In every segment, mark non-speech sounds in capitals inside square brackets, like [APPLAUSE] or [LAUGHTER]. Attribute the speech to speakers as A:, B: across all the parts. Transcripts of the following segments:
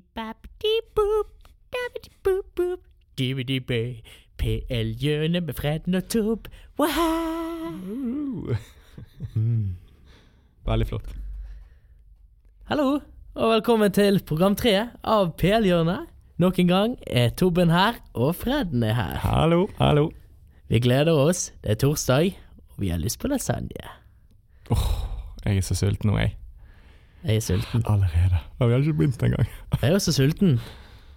A: Skibabidiboop, dabidiboop-boop, dibidibøy. PL-hjørnet med Fredden og Torb. Waha!
B: Uh. Mm. [LAUGHS] Veldig flott.
A: Hallo, og velkommen til program tre av PL-hjørnet. Nok en gang er Tobben her, og Fredden er her.
B: Hallo, hallo.
A: Vi gleder oss. Det er torsdag, og vi har lyst på lasagne.
B: Jeg er så sulten nå, jeg.
A: Jeg er sulten.
B: Allerede. Og vi har ikke begynt engang.
A: Jeg er også sulten.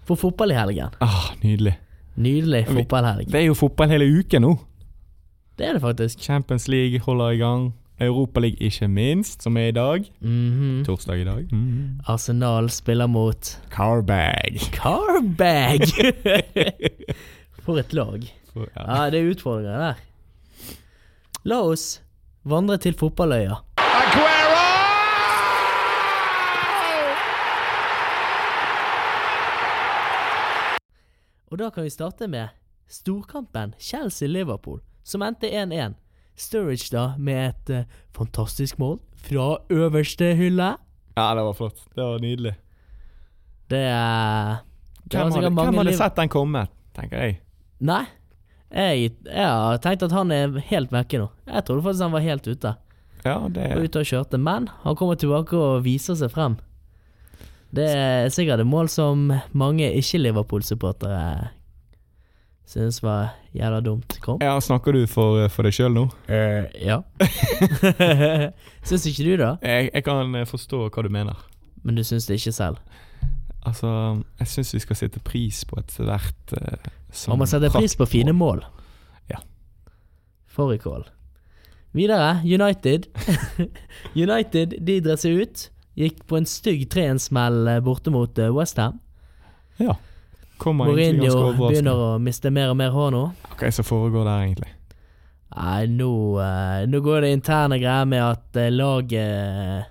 A: For fotball i helgen.
B: Ah, nydelig.
A: Nydelig
B: vi-
A: fotballhelg.
B: Det er jo fotball hele uken nå.
A: Det er det faktisk.
B: Champions League holder i gang. Europaliga ikke minst, som er i dag.
A: Mhm.
B: Torsdag i dag.
A: Arsenal spiller mot
B: Carbag.
A: Carbag! For et lag.
B: For- Ja.
A: Ja, det er utfordringer der. La oss vandre til fotballøya. Og da kan vi starte med storkampen Chelsea-Liverpool, som endte 1-1. Sturridge da med et eh, fantastisk mål fra øverste hylle.
B: ja, det var flott. Det var nydelig.
A: Det er det var
B: Hvem hadde,
A: sikkert mange
B: hvem hadde
A: liv-
B: sett den komme, tenker jeg.
A: Nei. Jeg, jeg har tenkt at han er helt vekke nå. Jeg trodde faktisk han var helt ute.
B: Ja,
A: Og
B: det
A: ute og kjørte. Men han kommer tilbake og viser seg frem. Det er sikkert et mål som mange ikke-Liverpool-supportere synes var jævla dumt. Kom.
B: ja, Snakker du for, for deg sjøl nå? Eh,
A: ja. [LAUGHS] syns ikke du, da?
B: Jeg, jeg kan eh, forstå hva du mener.
A: Men du syns det ikke selv.
B: Altså, jeg syns vi skal sette pris på ethvert uh,
A: Man må sette pris på fine mål.
B: Ja.
A: Fårikål. Videre, United. [LAUGHS] United de dresser ut. Gikk på en stygg 3-1-smell borte mot Westham.
B: Ja. Kommer egentlig ganske
A: Mourinho
B: overraskende.
A: begynner å miste mer og mer hår nå.
B: Hva er det som foregår der, egentlig?
A: Nei, nå, eh, nå går det interne greier med at eh, laget eh,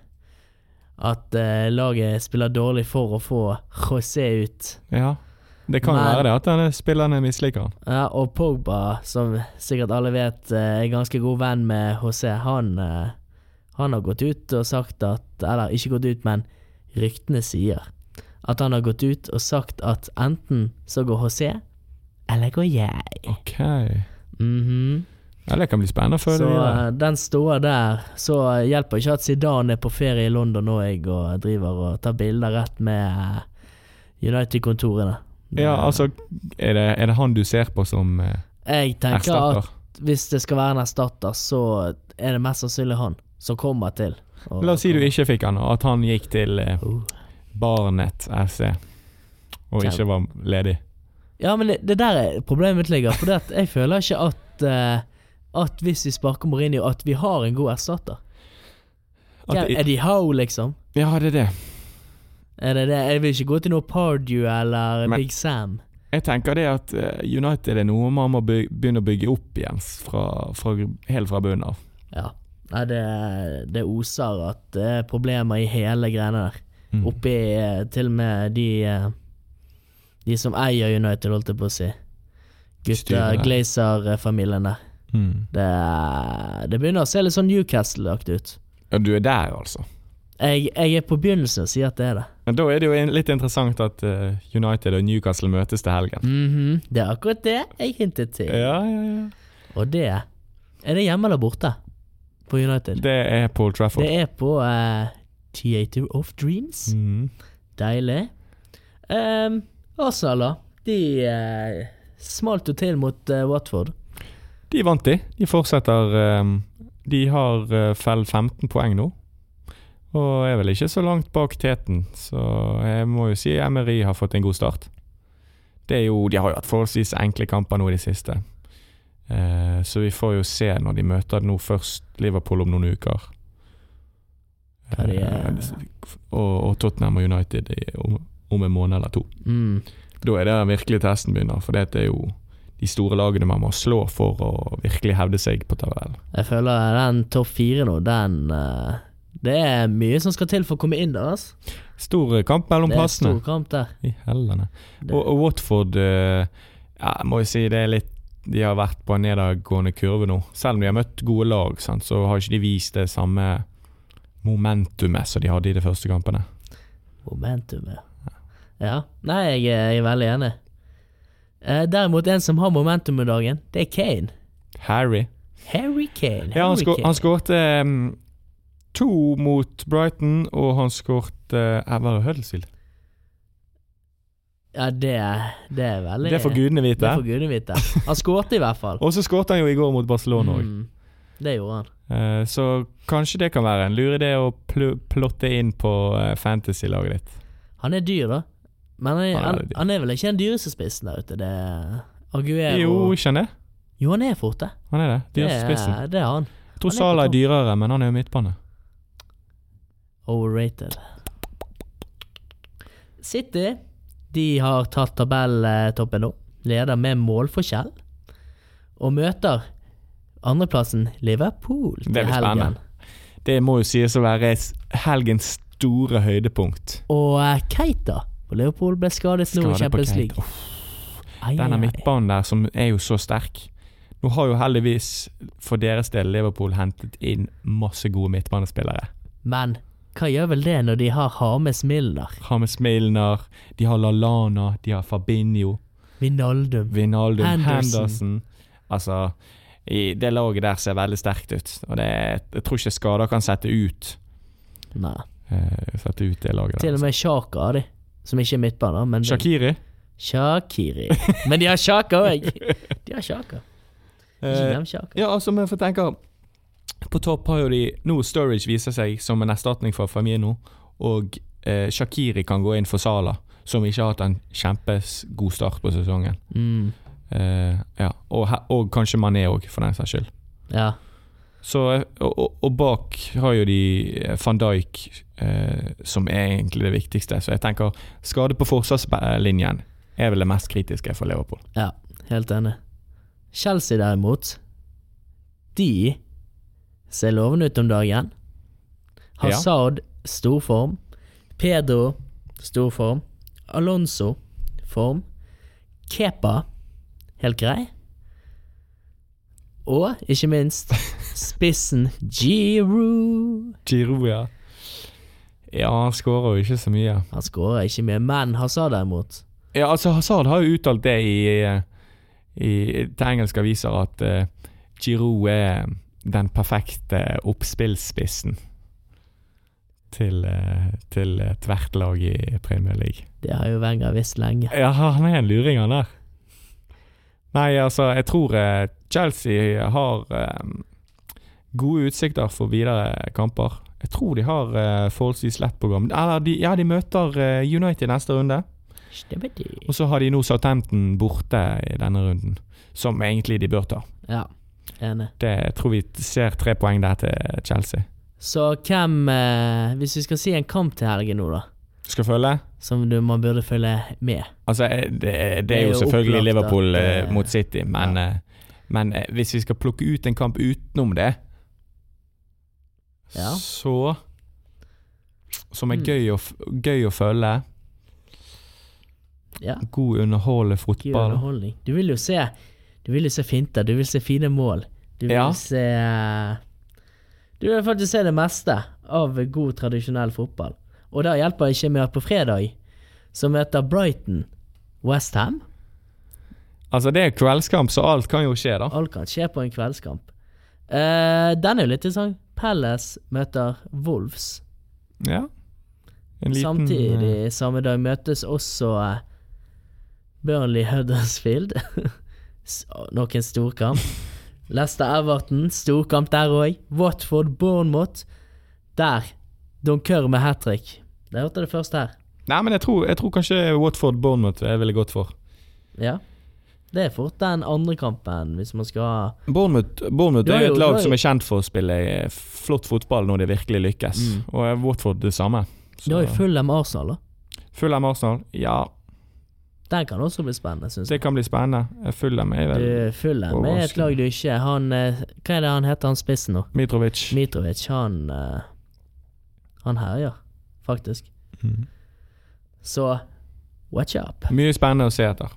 A: At eh, laget spiller dårlig for å få José ut.
B: Ja. Det kan jo
A: Men-
B: være det at denne spillerne misliker han.
A: Ja, og Pogba, som sikkert alle vet eh, er ganske god venn med José, han, eh, han har gått ut og sagt at Eller ikke gått ut, men ryktene sier at han har gått ut og sagt at enten så går José, eller går jeg.
B: Ok.
A: Mhm.
B: Ja, det kan bli spennende å følge
A: Så
B: videre.
A: eh, den står der. Så eh, hjelper ikke at Zidane er på ferie i London nå, jeg, og driver og tar bilder rett med eh, United-kontorene.
B: Ja, altså, er det, er det han du ser på som eh,
A: Jeg tenker at
B: erstatter?
A: hvis det skal være en erstatter, så er det mest sannsynlig han som kommer til. Og-
B: La oss si du ikke fikk han, og at han gikk til eh,
A: Oh.
B: Barnet SC og ikke var ledig.
A: Ja, men det, det der er problemet mitt ligger. For jeg føler ikke at eh, At hvis vi sparker Mourinho, at vi har en god erstatter.
B: At,
A: er de Howe, liksom?
B: ja, det er det.
A: Er det det? Jeg vil ikke gå til noe Pardew eller
B: Men-
A: Big Sam.
B: Jeg tenker det at eh, United er noe man må byg- begynne å bygge opp igjen fra, fra, helt fra bunnen av.
A: Ja. Nei, det, det oser at det er problemer i hele greiene der.
B: Mm.
A: Oppi eh, til og med de eh, De som eier United, holdt jeg på å si. Gutter,
B: Styrer der.
A: Glazer-familien der.
B: Mm.
A: Det, det begynner å se litt sånn Newcastle-aktig ut.
B: Ja, du er der, altså.
A: Jeg, jeg er på begynnelsen og sier at det er det.
B: Men da er det jo en- litt interessant at eh, United og Newcastle møtes til helgen.
A: Mhm, Det er akkurat det jeg hintet til.
B: Ja, ja, ja.
A: Og det Er det hjemme eller borte på United? Det,
B: Det er Paul Trafford.
A: er på eh, Theater of Dreams.
B: Mm.
A: Deilig. Ehm, Arsenal, da. De eh, smalt jo til mot eh, Watford.
B: De vant, de. De fortsetter ehm, De har eh, fell 15 poeng nå. Og er vel ikke så langt bak teten, så jeg må jo si Emery har fått en god start. Det er jo, de har jo hatt forholdsvis enkle kamper nå i det siste. Eh, så vi får jo se når de møter nå først Liverpool om noen uker.
A: Ja, de er-
B: Eh, og, og Tottenham og United i- om, om en måned eller to.
A: Mm.
B: Da er det virkelig testen begynner, for det er jo de store lagene man må slå for å virkelig hevde seg på tabellen.
A: Jeg føler den topp fire nå, den eh, Det er mye som skal til for å komme inn der, altså.
B: Stor eh, kamp mellom
A: Det er
B: plassene.
A: stor kamp der.
B: I hellene.
A: Det-
B: Og, og Watford eh, ja, jeg må jo si det er litt De har vært på en nedadgående kurve nå. Selv om de har møtt gode lag, sant, så har ikke de vist det samme momentumet som de hadde i de første kampene.
A: Momentumet. Ja. Nei, jeg, er- jeg er veldig enig. Eh, derimot en som har momentum om dagen, det er Kane.
B: Harry.
A: Harry Kane.
B: Ja, han,
A: Harry
B: skå,
A: Kane.
B: han skårte ehm, to mot Brighton, og han skårte eh, Var det Huddersfield?
A: Ja, det, det er veldig
B: Det får gudene
A: det
B: vite.
A: får gudene vite. Han skårte i hvert fall.
B: Og så skårte han jo i går mot Barcelona òg.
A: Mm, det gjorde han.
B: Eh, Så kanskje det kan være en lur idé å pl plotte inn på eh, fantasy-laget ditt.
A: Han er dyr, da. Men han er,
B: Han er
A: han,
B: dyr.
A: han er vel ikke den dyreste spissen der ute. Det er Aguero
B: Jo, ikke han det?
A: Jo, han er fort, det.
B: Han er det.
A: Det
B: Dyreste spissen.
A: er, det er han. han er
B: Jeg tror
A: på
B: Salah er
A: topp.
B: dyrere, men han er jo midtbane.
A: Overrated. City de har tatt tabelltoppen nå. Leder med målforskjell. Og møter andreplassen Liverpool til
B: Det blir
A: helgen.
B: spennende. Det må jo sies å være s- helgens store høydepunkt.
A: Og eh, Keita på Liverpool ble skadet nå i
B: Skade på
A: Champions
B: Keita.
A: League. Ai,
B: Denne
A: ai, ai.
B: midtbanen der som er jo så sterk. Nå har jo heldigvis for deres del Liverpool hentet inn masse gode midtbanespillere.
A: Men hva gjør vel det når de har Hames Milner,
B: James Milner, de har Lallana, de har Fabinho,
A: Vinaldum
B: Vinaldo
A: Henderson.
B: Henderson. Altså, i det laget der ser veldig sterkt ut. Og det, er- jeg tror ikke skader kan sette ut,
A: Nei.
B: eh, sette ut det laget
A: Til og
B: der.
A: med Sjaka har de, som ikke er midtbane, men
B: Shakiri.
A: Shakiri. Men de har Sjaka òg! De har Sjaka. Ikke
B: Eh,
A: glem Sjaka.
B: Ja, altså, men for jeg tenker På topp har jo de nå Sturridge viser seg som en erstatning for Famino, og eh, Shakiri kan gå inn for Sala, som ikke har hatt en kjempegod start på sesongen.
A: Mm.
B: Eh, ja, og, he- og kanskje Mané òg, for den saks skyld.
A: Ja.
B: Så, eh, og, og- og bak har jo de eh, van Dijk, eh, som er egentlig det viktigste. Så jeg tenker skade på forsvarslinjen er vel det mest kritiske for Liverpool.
A: ja. Helt enig. Chelsea derimot, de ser lovende ut om dagen. Hazard, stor form. Pedro, stor form. Alonso, form. Kepa, helt grei. Og ikke minst spissen Giroud.
B: Giroud, ja. Ja, han skårer jo ikke så mye.
A: Han skårer ikke mye, men Hazard derimot
B: Ja, altså Hazard har jo uttalt det i, eh, i, til engelske aviser at eh, Giroud er den perfekte oppspillsspissen til, eh, til ethvert lag i Premier League.
A: Det har jo Wenger visst lenge.
B: Ja, han er en luring, han der. Nei, altså, jeg tror eh, Chelsea har eh, gode utsikter for videre kamper. Jeg tror de har eh, forholdsvis lett program. Eller, de, ja, de møter eh, United neste runde.
A: Stibbidi.
B: Og så har de nå Southampton borte i denne runden, som egentlig de bør ta.
A: Ja, enig.
B: Det jeg tror vi ser tre poeng der til Chelsea.
A: Så hvem eh, Hvis vi skal si en kamp til helgen nå, da,
B: Skal følge?
A: som du, man burde følge med
B: Altså, eh, det, det er
A: er
B: jo
A: jo
B: selvfølgelig
A: opplagt
B: Liverpool
A: at,
B: eh,
A: eh,
B: mot City, men, eh, men eh, hvis vi skal plukke ut en kamp utenom det,
A: Ja.
B: så Som er
A: Mm.
B: gøy, å, f- gøy å følge.
A: Ja.
B: God underholdende
A: Gøy
B: fotball.
A: underholdning. Du vil jo se Du vil jo se finter, du vil se fine mål. Du vil
B: Ja.
A: se eh, Du vil faktisk se det meste av god, tradisjonell fotball. Og da hjelper det ikke med at på fredag, så møter Brighton Westham.
B: Altså, det er kveldskamp, så alt kan jo skje, da.
A: Alt kan skje på en kveldskamp. Eh, den er jo litt interessant. Palace møter Wolves.
B: Ja. En liten, eh,
A: Samtidig samme dag møtes også eh, Burnley Huddersfield. [LAUGHS] S- Nok en storkamp.
B: [LAUGHS]
A: Leicester Everton, storkamp der òg. Watford Bournemouth. Der. Dunkerque med hat trick. Der hørte det først her.
B: Nei, men jeg tror, jeg tror kanskje Watford Bournemouth er veldig godt for.
A: Ja. Det er fort den andre kampen, hvis man skal ha
B: Bournemouth, Bournemouth
A: Ja,
B: er jo
A: jo,
B: et lag
A: ja, jo.
B: som er kjent for å spille eh, flott fotball når det virkelig lykkes, og er Watford det samme.
A: Mm.
B: Så-
A: Du har jo Fulham Arsenal, da.
B: Fulham Arsenal, ja,
A: Den kan også bli spennende, syns jeg.
B: det kan bli spennende. Fulham er vel
A: Du, Fulham er et
B: overraskende.
A: lag du ikke Han eh, Hva er det han heter, han spissen nå?
B: Mitrovic.
A: Mitrovic, han eh, Han herjer, faktisk.
B: Mhm.
A: Så watch up.
B: Mye spennende å se etter.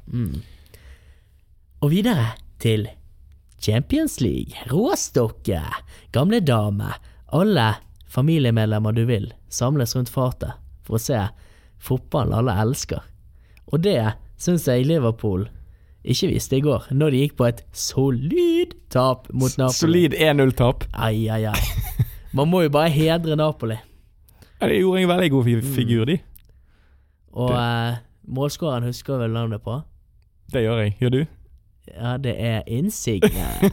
A: Og videre til Champions League. Råstokke. Gamle dame. Alle familiemedlemmer du vil, samles rundt fatet for å se fotballen alle elsker. Og det syns jeg Liverpool ikke visste i går, når de gikk på et solid tap mot Napoli.
B: Solid 1-0-tap.
A: Ai, ai, ai. Man må jo bare hedre Napoli.
B: Ja, de gjorde en veldig god fi-
A: Mm.
B: figur, de.
A: Og eh, målskåreren husker vel navnet på?
B: Det gjør jeg. Gjør du?
A: Ja, det er
B: [LAUGHS]
A: Insigne.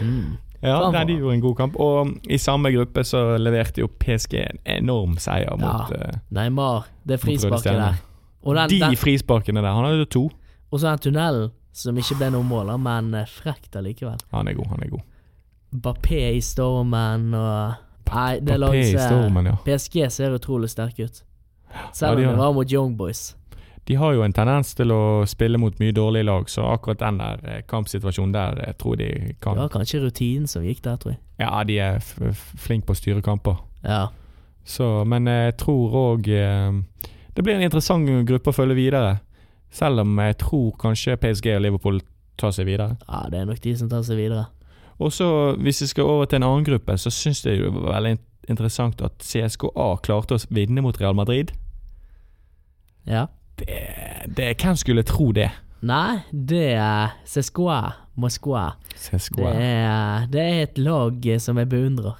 A: mm.
B: Ja,
A: Faen,
B: nei,
A: faen.
B: de gjorde en god kamp. Og mm, i samme gruppe så leverte jo PSG en enorm seier mot
A: Ja.
B: eh,
A: Neymar, det
B: Mot Røde
A: frisparket
B: Stjerne.
A: der. Og, den,
B: de
A: den,
B: frisparkene der. Han hadde to.
A: og så den tunnelen som ikke ble noe mål, da, men eh, frekt allikevel.
B: Han er god, han er god.
A: Bappé i stormen og Nei, det
B: Papé i
A: laget ser-
B: stormen, ja.
A: PSG ser utrolig sterke ut.
B: Ja,
A: Selv
B: de
A: om
B: gjør
A: det var mot Young Boys.
B: De har jo en tendens til å spille mot mye dårlige lag, så akkurat den der eh, kampsituasjonen der eh, tror de
A: Det
B: kan
A: var kanskje rutinen som gikk der, tror jeg.
B: Ja, de er f f flinke på å styre kamper.
A: Ja.
B: Så, men eh, jeg tror òg eh, Det blir en interessant gruppe å følge videre. Selv om jeg tror kanskje PSG og Liverpool tar seg videre.
A: ja, det er nok de som tar seg videre.
B: Og så, hvis vi skal over til en annen gruppe, så syns jeg det var veldig in- interessant at CSKA klarte å s- vinne mot Real Madrid.
A: Ja.
B: Det, det, hvem skulle tro det?
A: Nei, det er Sescoa Moskva. Det
B: CSKA.
A: er, det er et lag eh, som jeg beundrer.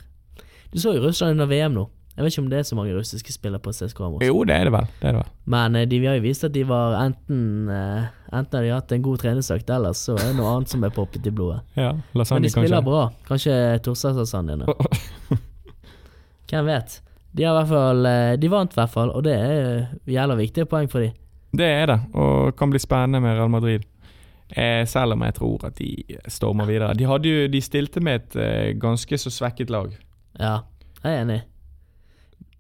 A: Du så jo Russland under VM nå. Jeg vet ikke om det er så mange russiske spillere på CSKA. Moskva.
B: Jo, det er det vel. Det er det vel.
A: Men eh, de har jo vist at de var enten eh, Enten har de hatt en god treningsøkt, eller så er det noe annet som er poppet i blodet.
B: Ja,
A: Men
B: lasagne,
A: de spiller
B: Sånn kanskje.
A: bra. Kanskje Torsdagsasandene. Hvem vet. De, har i hvert fall, eh, de vant i hvert fall, og det er jo jævla viktige poeng for de.
B: [LAUGHS] Det er det, og kan bli spennende med Real Madrid. Eh, selv om jeg tror at de stormer videre. De, hadde jo, de stilte med et eh, ganske så svekket lag.
A: Ja, jeg er enig.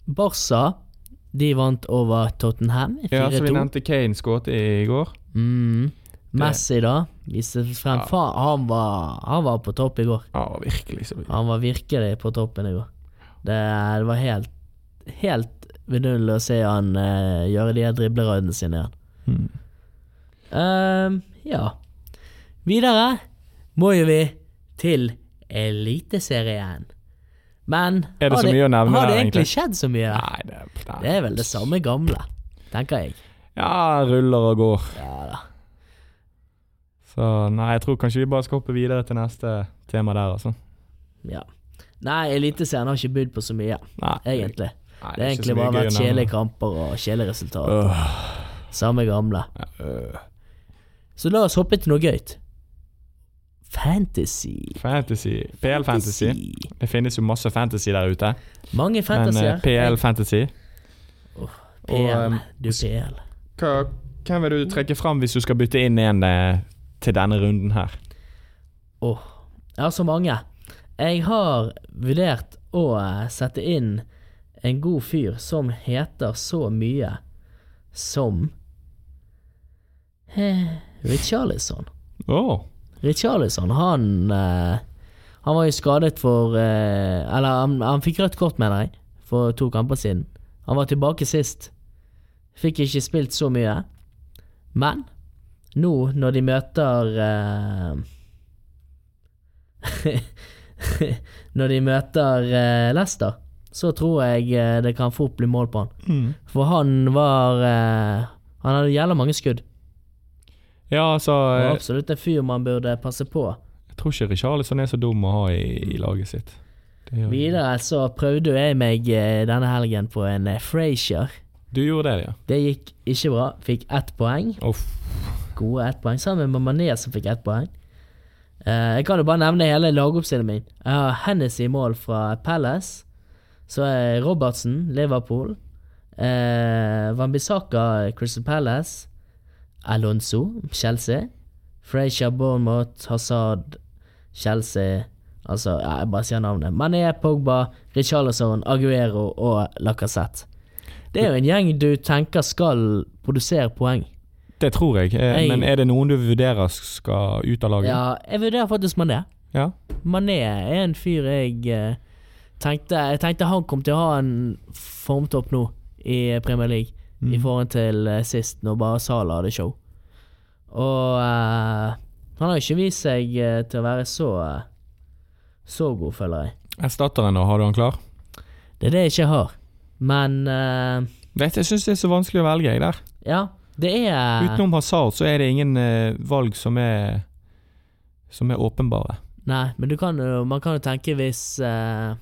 A: Barca de vant over Tottenham i 4-2.
B: Ja, Som vi nevnte, Kane skåret i går.
A: mm. Messi, da, viste frem
B: Ja.
A: Faen, han var, han var på topp i går.
B: Ja, virkelig. Så.
A: Han var virkelig på toppen i går. Det, det var helt Helt vidunderlig å se han eh, gjøre de her driblerøydene sine igjen.
B: Mm.
A: Ehm, ja. Videre må jo vi til Eliteserien. Men
B: Er det
A: har
B: så mye å nevne
A: Har det
B: der,
A: egentlig skjedd så mye der?
B: Nei, det, nei.
A: Det er vel det samme gamle, tenker jeg.
B: Ja, ruller og går.
A: Ja da.
B: Så nei, jeg tror kanskje vi bare skal hoppe videre til neste tema der, altså.
A: Ja. Nei, Eliteserien har ikke bydd på så mye,
B: Nei,
A: egentlig.
B: nei,
A: Det har
B: ikke så
A: egentlig
B: mye
A: bare
B: gøy å
A: vært
B: nevne.
A: kjedelige kamper og kjedelige resultater.
B: Øh,
A: Samme gamle.
B: øh.
A: Så la oss hoppe til noe gøy. Fantasy.
B: Fantasy. PL Fantasy. Det finnes jo masse fantasy der ute,
A: Mange
B: men eh,
A: fantasier.
B: PL Fantasy og,
A: PL.
B: ehm,
A: Du PL.
B: Hva, hvem vil du trekke fram hvis du skal bytte inn en eh, til denne runden her?
A: Åh, jeg har så mange. Jeg har vurdert å eh, sette inn en god fyr som heter så mye som eh, Richarlison.
B: Åh,
A: Richarlison, han eh, Han var jo skadet for eh, Eller han, han fikk rødt kort, mener jeg, for to kamper siden. Han var tilbake sist. Fikk ikke spilt så mye. Men nå, når de møter eh, [LAUGHS] Når de møter eh, Leicester, så tror jeg eh, det kan fort bli mål på han. For han var eh, Han hadde jævla mange skudd.
B: Ja, altså
A: Han
B: eh,
A: var absolutt en fyr man burde passe på.
B: Jeg tror ikke Richarlison er så dum å ha i, i laget sitt. Det gjør-
A: Videre så prøvde jo jeg meg eh, denne helgen på en eh, Frazier.
B: Du gjorde det, ja.
A: Det gikk ikke bra. Fikk ett poeng.
B: Uff.
A: Gode ett poeng. Sammen med Mané som fikk ett poeng. Eh, jeg kan jo bare nevne hele lagoppstillingen min. Jeg har Hennessy i mål fra Palace. Så er Robertsen, Liverpool. Uh, Wambisaka, Crystal Palace. Alonso, Chelsea. Frazier, Bournemouth, Hazard, Chelsea. Altså, ja, jeg bare sier navnet. Mané, Pogba, Richarlison, Aguero og Lacassette. Det er jo en gjeng du tenker skal produsere poeng.
B: Det tror jeg. Eh,
A: Jeg-
B: Men er det noen du vurderer skal ut av laget?
A: Ja, jeg vurderer faktisk Mané.
B: Ja.
A: Mané er en fyr jeg eh, tenkte Jeg tenkte han kom til å ha en formtopp nå i Premier League i forhold til eh, sist, når bare Salah hadde show. Og eh, han har jo ikke vist seg eh, til å være så eh, så god, føler jeg.
B: Erstatteren, da? Har du han klar?
A: Det er det jeg ikke har. Men eh,
B: Vet, jeg syns det er så vanskelig å velge, jeg, der.
A: ja. Det er eh,
B: Utenom Hazard så er det ingen eh, valg som er Som er åpenbare.
A: Nei, men du kan jo Man kan jo tenke hvis eh,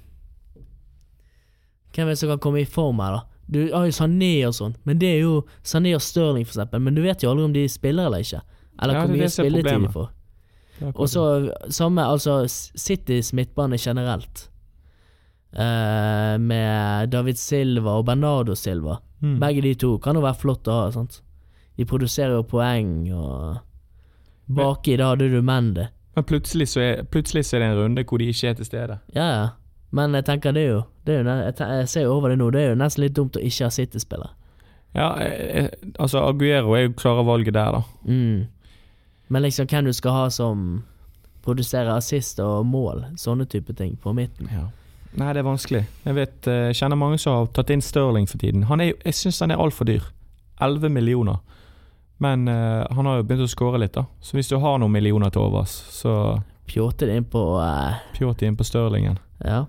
A: Hvem er det som kan komme i form her, da? Du har jo Sané og sånn, men det er jo Sané og Stirling, for eksempel. Men du vet jo aldri om de spiller eller ikke. Eller
B: Ja,
A: hvor
B: det er
A: mye
B: det som er
A: spilletid de
B: problemet.
A: får.
B: Det er akkurat
A: Og så samme, altså S- Citys midtbane generelt. Eh, med David Silva og Bernardo Silva.
B: det. Mm.
A: Begge de to kan jo være flott å ha. sant? De produserer jo poeng og Baki, da hadde du Mendy.
B: Men plutselig så, er, plutselig så er det en runde hvor de ikke er til stede.
A: Ja, ja. Men jeg tenker det er jo, det er jo ne- jeg, te- jeg ser jo over det nå, det er jo nesten litt dumt å ikke ha City-spillere.
B: Ja, eh, eh, altså Aguero er jo klare valget der, da.
A: Mm. Men liksom hvem du skal ha som produserer assist og mål, sånne type ting, på midten.
B: Nei, det er vanskelig. Jeg vet, eh, jeg kjenner mange som har tatt inn Sterling for tiden. Han er, jo- jeg syns han er altfor dyr. 11 millioner. Men eh, han har jo begynt å score litt, da. Så hvis du har noen millioner til overs, så
A: Pjåte det inn på eh,
B: pjåt inn på Sterlingen.
A: Ja.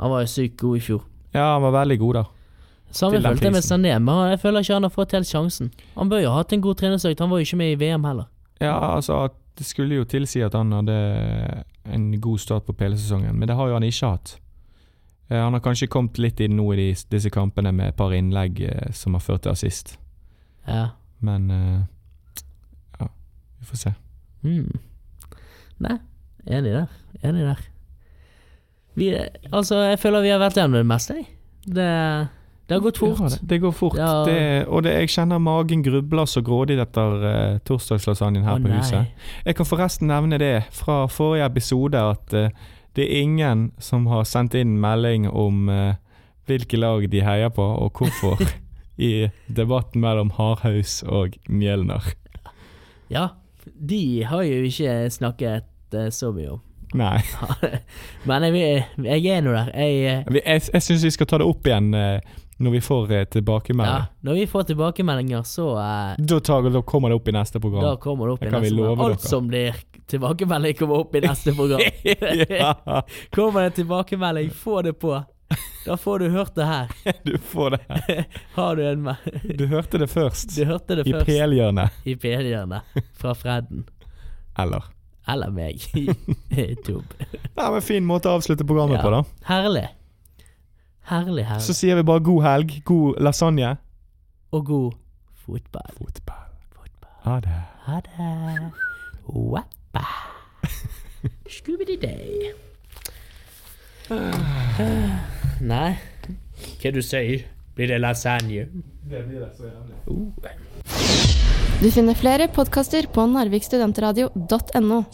A: Han var jo sykt god i fjor.
B: Ja, han var veldig god der.
A: Samme
B: Til den
A: følte jeg med
B: prisen.
A: Sané, men han- jeg føler ikke han har fått helt sjansen. Han bør jo ha hatt en god trenersøkt, han var jo ikke med i VM heller.
B: Ja, altså at Det skulle jo tilsi at han hadde en god start på PL-sesongen, men det har jo han ikke hatt. Eh, Han har kanskje kommet litt inn nå i de- disse kampene med et par innlegg eh, som har ført til assist,
A: Ja.
B: men eh, Ja, vi får se.
A: Mm. Nei, enig der. Enig der. Vi, altså, jeg føler vi har vært gjennom det meste, jeg. Det, det har gått fort.
B: Ja, det, det går fort.
A: Ja.
B: Det, og det, jeg kjenner magen grubler så grådig etter eh, torsdagslasagnen her
A: Å,
B: på
A: nei.
B: huset. Jeg kan forresten nevne det fra forrige episode at eh, det er ingen som har sendt inn melding om eh, hvilke lag de heier på
A: [LAUGHS]
B: og hvorfor i debatten mellom Hardhaus og Mjølner.
A: Ja, de har jo ikke snakket eh, så mye om. [LAUGHS]
B: Nei.
A: Men jeg, jeg er nå der. Jeg, eh,
B: Vi- Jeg, jeg syns vi skal ta det opp igjen eh, når vi får eh,
A: ja,
B: tilbakemelding.
A: når vi får tilbakemeldinger, så eh,
B: Da, tar, da kommer det opp i neste
A: Da [LAUGHS]
B: program.
A: kommer det opp
B: Det
A: i
B: kan vi
A: neste program.
B: love
A: Alt
B: dere.
A: som blir tilbakemelding, kommer opp i neste program.
B: [LAUGHS] [LAUGHS]
A: [LAUGHS]
B: Ja,
A: kommer det tilbakemelding, få det på. Da får du hørt det her.
B: [LAUGHS] du får det.
A: Har du en me-
B: Du hørte det først.
A: Du hørte det
B: I
A: først.
B: pelhjørnet.
A: i PD-hjørnet fra Fredden.
B: Eller?
A: Eller [LAUGHS] meg. Tob.
B: Nei, men Fin måte å avslutte programmet
A: Ja.
B: på, da.
A: Herlig. Herlig, herlig.
B: Så sier vi bare god helg, god lasagne.
A: Og god fotball.
B: Fotball. Ha det.
A: Ha det. [LAUGHS] Wappa. Scooby-dee-day. [SIGHS] Nei, hva du sier? Blir det lasagne?
B: Det blir det så jævlig.
A: Uh.
C: Du finner flere podkaster på narvikstudentradio.no.